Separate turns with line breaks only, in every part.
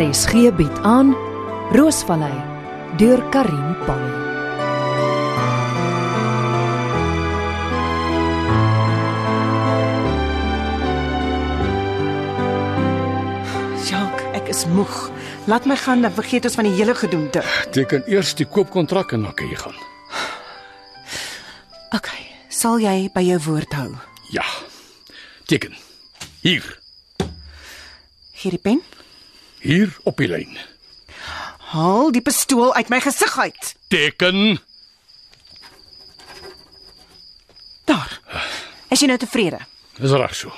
RSG bied aan Roosvallei deur Karin Pan.
Jacques, ek is moeg. Laat my gaan, dan vergeet ons van die hele gedoente.
Teken eers die koopkontrak en dan kan jy gaan.
OK, sal jy by jou woord hou?
Ja. Teken. Hier.
Gee die pen.
Hier op die lyn.
Haal die pistool uit my gesig uit.
Teken.
Daar. Is jy nou tevrede?
Dis reg so.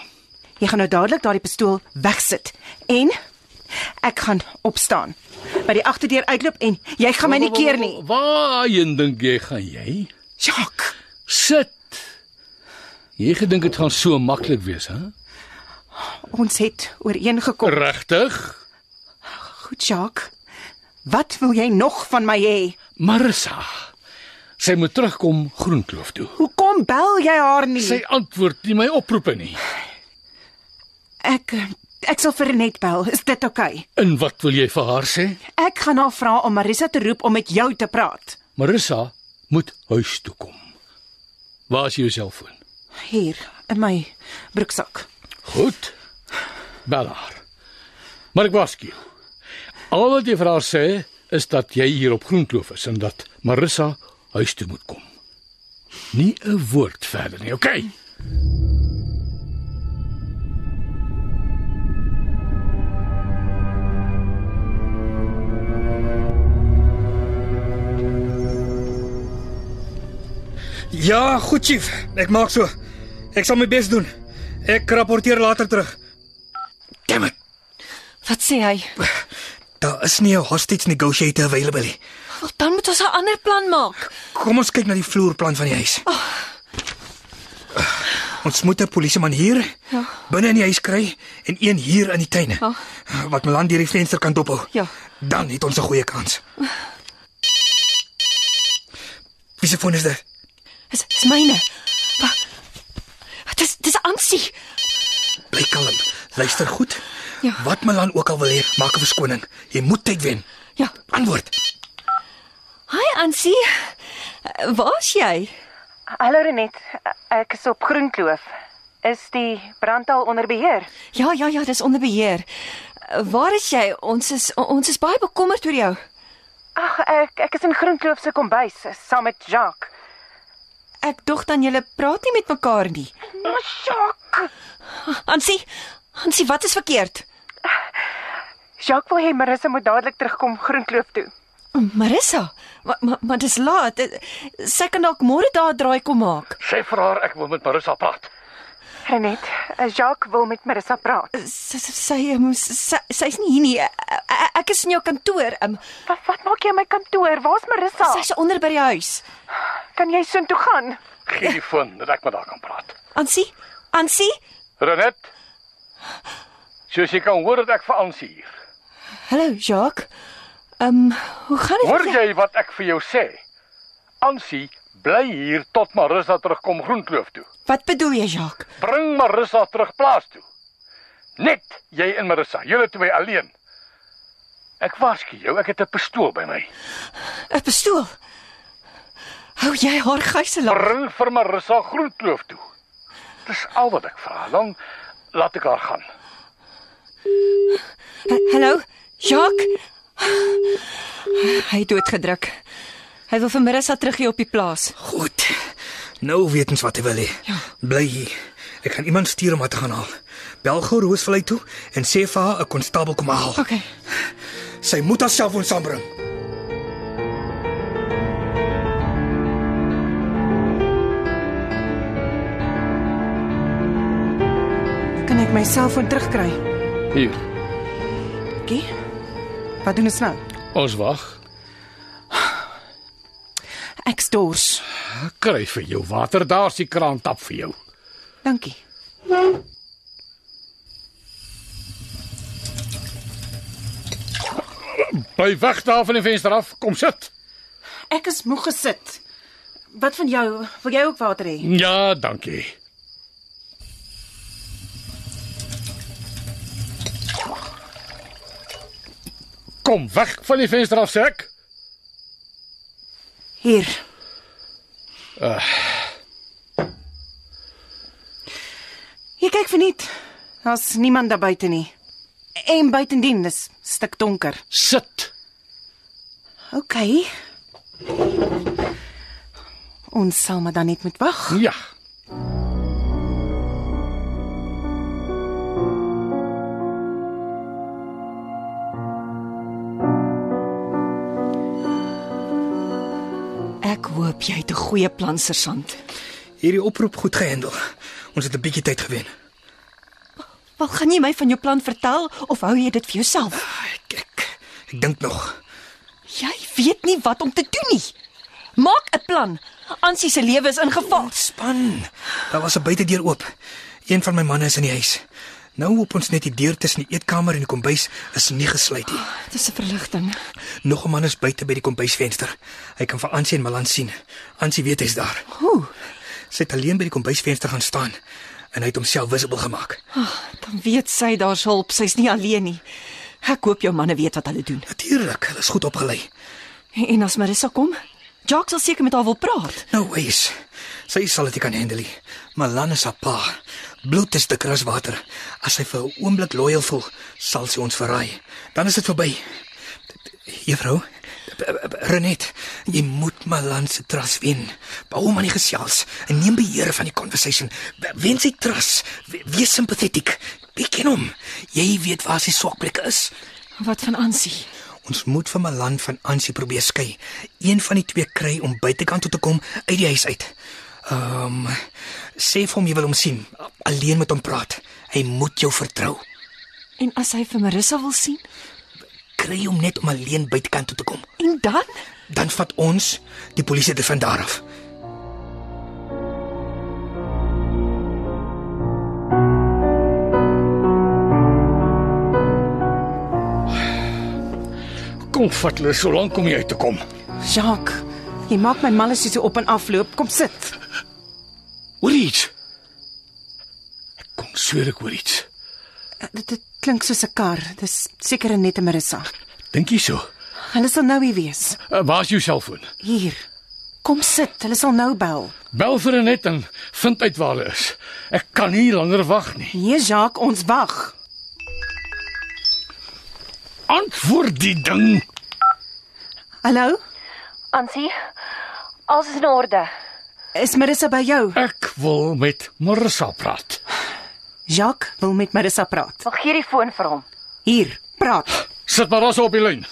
Jy gaan nou dadelik daardie pistool wegsit en ek gaan opstaan. By die agterdeur uitloop en jy gaan my nie keer nie.
Waarheen dink jy gaan jy?
Jacques,
Sit. Jy gedink dit gaan so maklik wees, hè?
ons het ooreengekom.
Regtig?
Goed, Jacques. Wat wil jy nog van my hê?
Marissa. Sy moet terugkom Groenkloof toe.
Hoekom bel jy haar nie?
Sy antwoord nie my oproepe nie.
Ek ek sal vir Renet bel. Is dit oukei? Okay?
En wat wil jy vir haar sê?
Ek gaan haar vra om Marisa te roep om met jou te praat.
Marissa moet huis toe kom. Waar is jou selfoon?
Hier in my broeksak.
Goed. Bel haar. Maar ek waarsku. jou. Al wat jy vir haar sê is dat jy hier op Groenkloof is en dat Marissa huis toe moet kom. Nie 'n woord verder nie, okay?
Ja, goed chief. Ek maak so. Ek sal my bes doen. Ek rapporteer later terug. Damn it.
Wat sê hy?
Daar is nie 'n hostage negotiator available nie.
Wel dan moet ons 'n ander plan maak.
Kom ons kyk na die vloerplan van die huis. Oh. Ons moet 'n polisieman hier ja. binne in die huis kry en een hier in die tuine.
Ja.
Wat Milan deur die vensterkant ophou.
Ja.
Dan het ons 'n goeie kans. Wie se foon is dit?
Dis dis myne. Wat? Wat is dis Ansie?
Bly kalm. Luister goed.
Ja.
Wat Milan ook al wil hê, maak 'n verskoning. Jy moet tyd wen.
Ja.
Antwoord.
Hi Ansie. Waar's jy?
Hallo Renet, ek is op Groenkloof. Is die brand al onder beheer?
Ja, ja, ja, dis onder beheer. Waar is jy? Ons is ons is baie bekommerd oor jou.
Ag, ek ek is in Groenkloof se kombuis saam met Jacques.
Ek dog dan julle praat nie met mekaar nie.
Nou Jacques.
Ah, Ansie, Ansie, wat is verkeerd?
Jacques wil hê Marissa moet dadelik terugkom Groenkloof toe.
Oh, Marissa, maar maar, maar dis laat. Eh, Sy kan dalk môre daar draai kom maak.
Sê vir haar ek wil met Marissa praat.
Renet, Jacques wil met Marissa praat.
Sy sy- sy ehm, sy sy's nie hier nie. Ek- Ek is in jou kantoor. Um,
Wat, wat maak jy in my kantoor? Waar's Marissa?
sy's onder by die huis.
Kan jy soontoe gaan?
Gee die foon dat ek met haar kan praat.
Ansie, Ansie,
Renet. Soos jy kan hoor dat ek vir Ansie hier.
hallo Jacques. Ehm, um, hoe gaan dit?
Hoor
met jou?
jy wat ek vir jou sê? Ansie bly hier tot Marissa terugkom Groenkloof toe.
Wat bedoel jy, Jacques?
Bring Marissa terug plaas toe. Net jy en Marissa, julle twee alleen. Ek waarsku jou, ek het 'n pistool by my.
'n Pistool. Hou jy haar gijslaar?
Bring vir Marissa Groenkloof toe. Dis al wat ek vra. Dan laat ek haar gaan.
Ha- Hallo, Jacques. Hy het doodgedruk. Hy wil vir Marissa teruggee op die plaas.
Goed. Nou weet ons wat hy wil hê. Ja. Bly hier. Ek gaan iemand stuur om haar te gaan haal. Bel gou Roosvlei toe en sê vir haar 'n konstabel kom haar haal.
Okay.
Sy moet haarself ons saambring.
Kan ek my selfoon terugkry?
Hier.
Kie? Wat doen ons nou?
Ons wag.
Ek's dors.
Kry vir jou water. Daar's die kraan tap vir jou.
Dankie.
Bly weg daar van die venster af. Kom sit.
Ek is moeg gesit. Wat van jou? Wil jy ook water hê?
Ja, dankie. Kom weg van die venster af, sê ek.
Hier. Ah. Jy kyk verniet. Daar's niemand daar buite nie. En buitendien is stik donker.
Sit.
OK. Ons sal maar dan net moet wag.
Ja.
Ek hoop jy het 'n goeie plan, sergeant.
Hierdie oproep goed gehandel. Ons het 'n bietjie tyd gewen.
Wel, gaan jy my van jou plan vertel of hou jy dit vir jouself?
Ek ek, ek dink nog.
Jy weet nie wat om te doen nie. Maak 'n plan. Ansie se lewe is in gevaar.
Span. Daar was 'n buitedeur oop. Een van my manne is in die huis. Nou op ons net die deur tussen die eetkamer en die kombuis is nie gesluit nie.
Dit is 'n verligting.
Nog 'n man is buite by die kombuisvenster. Hy kan vir Ansie en Malan sien. Ansie weet hy's daar.
Hoe?
Sy het alleen by die kombuisvenster gaan staan en hy het homself visible gemaak.
Dan weet sy daar's hulp. Sy's nie alleen nie. Ek hoop jou manne weet wat hulle doen.
Natuurlik, hulle is goed opgelei.
En, en as Marissa kom, Jacques sal seker met haar wil praat.
No ways. Nou, Sy sal dit nie kan handle nie. Malan is haar pa. Bloed is dikker as water. As sy vir 'n oomblik loyal voel, sal sy ons verraai. Dan is dit verby. Juffrou, Renet, jy moet Malan se trust wen. Bou hom aan die gesels en neem beheer van die conversation. W- Wen sy trust. W- Wees sympathetiek. Jy ken hom. Jy weet waar sy swakplekke is.
Wat van Ansie?
Ons moet vir Malan van Ansie probeer skei. Een van die twee kry om buitekant toe te kom uit die huis uit. Ehm um, sê vir hom jy wil hom sien, alleen met hom praat. Hy moet jou vertrou.
En as hy vir Marissa wil sien?
Kry hom net om alleen buitekant toe te kom.
En dan?
Dan vat ons die polisie dit van daar af.
Kom vat hulle so lank om jy uit te kom.
Jacques, jy maak my malle soos op en afloop. Kom sit.
Hoor iets. Ek kom swer ek hoor iets.
Eh, Dit, dit klink soos 'n kar. Dis seker net 'n Marissa.
Dink jy so?
Hulle sal nou hier wees.
Uh, Waar's jou selfoon?
Hier. Kom sit. Hulle sal nou bel.
Bel vir Renet en vind uit waar hulle is. Ek kan nie langer wag nie.
Nee, Jacques, ons wag.
Antwoord die ding.
Hallo?
Ansie, alles is in orde.
Is Marissa by jou?
Ek wil met Marissa praat.
Jacques wil met Marissa praat.
Mag gee die foon vir hom.
Hier, praat.
Sit Marissa op die lyn.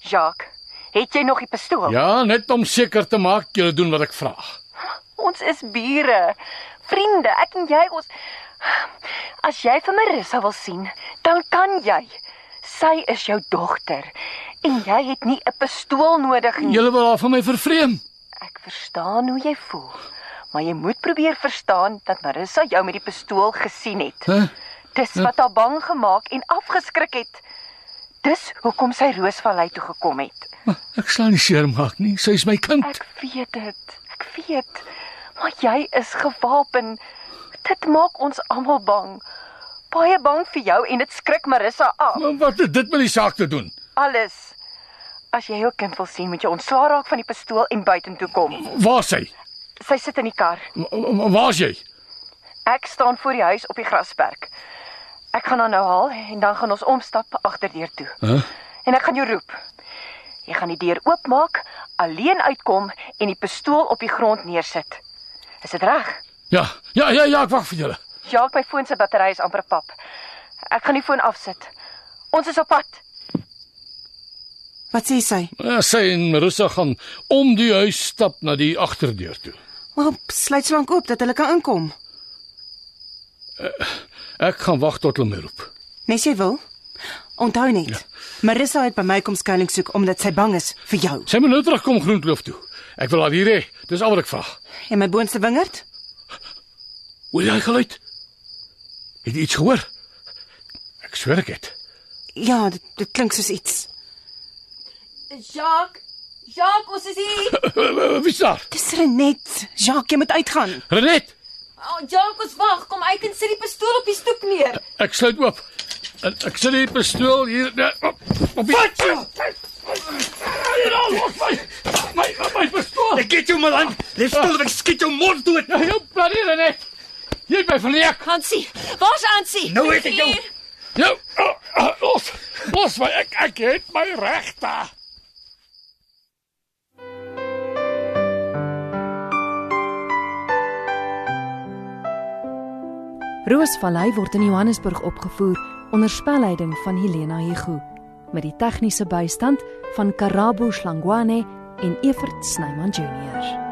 Jacques, het jy nog die pistool?
Ja, net om seker te maak jy doen wat ek vra.
Ons is bure. Vriende, ek en jy ons As jy vir Marissa wil sien, dan kan jy. Sy is jou dogter en jy het nie 'n pistool nodig nie.
Julle wil haar van my vervreem.
Ek verstaan hoe jy voel, maar jy moet probeer verstaan dat Marissa jou met die pistool gesien het.
Hæ?
Dis wat haar bang gemaak en afgeskrik het. Dis hoekom sy Roosvallei toe gekom het.
Maar Ek sal nie seermaak nie. Sy is my kind.
Ek weet dit. Ek weet. Maar jy is gewapen. Dit maak ons almal bang. Baie bang vir jou en dit skrik Marissa af.
Maar wat het dit met die saak te doen?
Alles. As jy jou kind wil sien, moet jy ontslaa raak van die pistool en buitentoe kom.
Waar's sy?
Sy sit in die kar.
Wa- wa- Waar's jy?
Ek staan voor die huis op die grasperk. Ek gaan haar nou haal en dan gaan ons omstap agterdeur toe.
Hæ?
En ek gaan jou roep. Jy gaan die deur oopmaak, alleen uitkom en die pistool op die grond neersit. Is dit reg?
Ja, ja, ja, ja, ek wag vir julle.
Jacques, my foon se battery is amper pap. Ek gaan die foon afsit. Ons is op pad.
Wat sê sy?
Ja, Sy en Marissa gaan om die huis stap na die agterdeur toe.
Maar sluit slank oop dat hulle kan inkom.
Ek gaan wag tot hulle my roep.
Nes jy wil? Onthou net. Ja. Marissa het by my kom skuilings soek omdat sy bang is vir jou.
Sy moet nou terugkom Groenkloof toe. Ek wil haar hier hê. Dis al wat ek vra.
En my boonste wingerd?
Hoor jy geluid? Het jy iets gehoor? Ek swer ek het.
Ja, dit, dit klink soos iets.
Jacques, Jacques, ons is hier.
Wie's daar?
Dis Renet. Jacques, jy moet uitgaan.
Renet,
Oh, Jacques, ons wag. Kom, ek kan sit die pistool op die stoep neer.
ek sluit oop. En ek sit die pistool hier eh, op, op die Wat? Hier al los my. My my pistool.
Ek het jou mal aan. Lê stil, ek skiet jou mond dood.
Ja, Jou planeer net. Jy by verleek.
Hansie, waar's Hansie?
Nou het ek jou.
Jou oh, oh, los. Los my. Ek ek het my regte.
Roosvallei word in Johannesburg opgevoer onder spelleiding van Helena Hugo met die tegniese bystand van Karabo Slangwane en Evert Snyman Junior.